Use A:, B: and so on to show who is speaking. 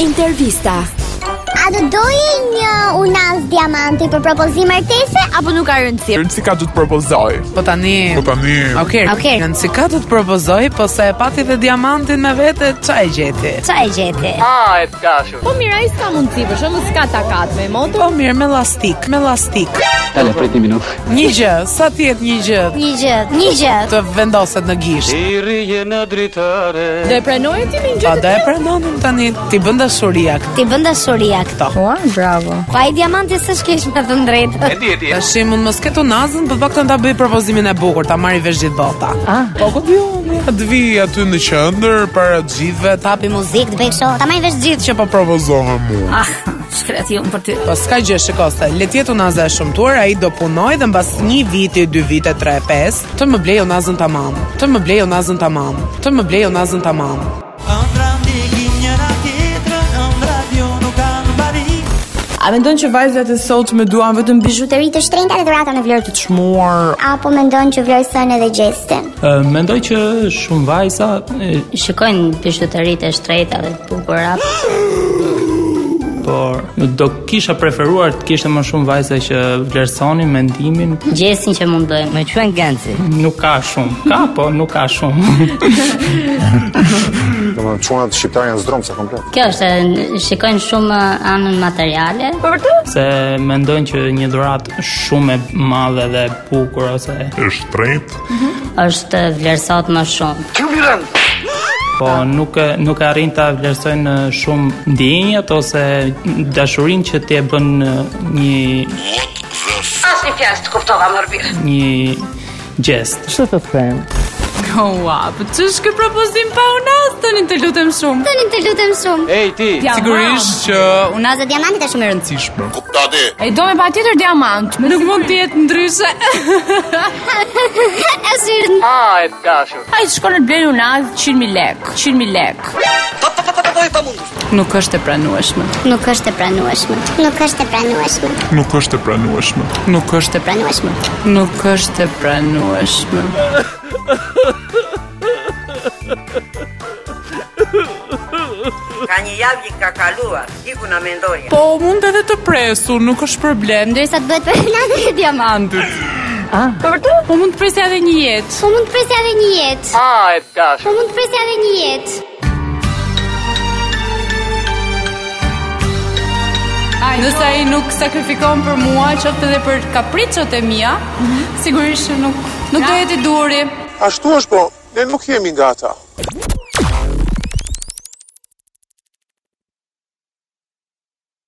A: Intervista
B: A do doje një unaz diamanti për propozim artese?
A: Apo nuk ka rëndësi
C: Rëndësi ka të të propozoj
D: Po tani,
C: Po tani
D: Okej.
B: Okej.
D: Në si ka të të propozoj, po se e pati dhe diamantin me vete, qa e gjeti?
B: Qa e gjeti?
E: Ah, e të kashur.
A: Po mira, ai s'ka mundësi, për shembull s'ka takat me motor.
D: Po mirë, me lastik, me lastik.
F: Dale, prit një minutë.
D: Një gjë, sa tjetë një gjë
B: Një gjë, një gjë.
D: të vendoset në gisht.
F: I rije në dritare.
A: Do e pranoje ti me
D: Po
A: gjë
D: do e pranonim tani, ti bën dashuria këtë.
B: Ti bën dashuria këto.
A: Ua, bravo.
B: Po ai diamanti s'është keq me të drejtë.
E: E di, e di.
D: Tashi mund mos ketë unazën, po të paktën ta bëj propozimin e bukur, ta marri vesh gjithë bota.
A: Ah.
D: Po ku di unë?
C: Të vi aty në qëndër para gjithve
D: Dhe tapi
B: Muzikë
D: muzikë
B: të bëj kështu. Ta marr vesh gjithë.
C: që po propozohem mua
A: Ah, shkreti unë për ty.
D: Po s'ka gjë shikoste, le të jetë unaza e shëmtuar, ai do punoj dhe mbas një viti, dy vite, tre, pesë, të më blej unazën tamam. Të më blej unazën tamam. Të më blej unazën tamam.
G: A mendon që vajzat e sotme duan vetëm bizhut?
B: Zhutëri të shtrenjta dhe dhurata me vlerë të çmuar. Apo mendon që vlerësojnë edhe gjestin?
H: Mendoj që shumë vajza e,
I: Shikojnë bishutëritë e shtrejta dhe të bukura.
H: por do kisha preferuar të kishte më shumë vajza që vlerësonin mendimin.
I: Gjesin që mund bëjnë. Më quen Genci.
H: Nuk ka shumë. Ka, po nuk ka shumë.
J: Domethënë çunat shqiptarë janë zdromse komplet.
I: Kjo është, e, shikojnë shumë e, anën materiale.
H: Se mendojnë që një dhuratë shumë e madhe dhe e bukur ose
C: është trejt
I: është e, vlerësot më shumë.
H: po nuk e- nuk e arrin ta vlerësojnë e, shumë ndjenjat ose dashurinë që ti e bën e, një
E: Asnjë fjalë të kuptova më mirë.
H: një gjest.
A: Ua, po ç'është ky propozim pa unaz tani të lutem shumë.
B: Tani të lutem shumë.
F: Ej ti,
C: Sigurisht që
B: Unaza diamantit është shumë e rëndësishme.
A: E do me patjetër diamant. Nuk mund të jetë ndryshe.
B: Është i rëndë.
E: Ah, e të kashur.
A: Ai shkon të blen unaz 100.000 lek, 100.000 lek. Nuk është e pranueshme.
B: Nuk është e pranueshme. Nuk është e pranueshme.
C: nuk është e pranueshme
D: Nuk është e
B: Pranueshme.
D: nuk është e pranueshme.
E: Ka një javë që ka kaluar, iku na mendoje.
D: Po mund edhe të presu, nuk është problem.
B: Ndërsa të bëhet për unazën e diamantit.
A: Po mund të presja edhe një jetë.
B: Po mund të presja edhe një jetë.
E: Ah, e të kashur.
B: Po mund të presja edhe një jetë.
A: Nëse ai nuk sakrifikon për mua, qoftë edhe për kapricët e mia, sigurisht që nuk nuk do jetë i duri.
J: Ashtu është po, ne nuk jemi nga ata.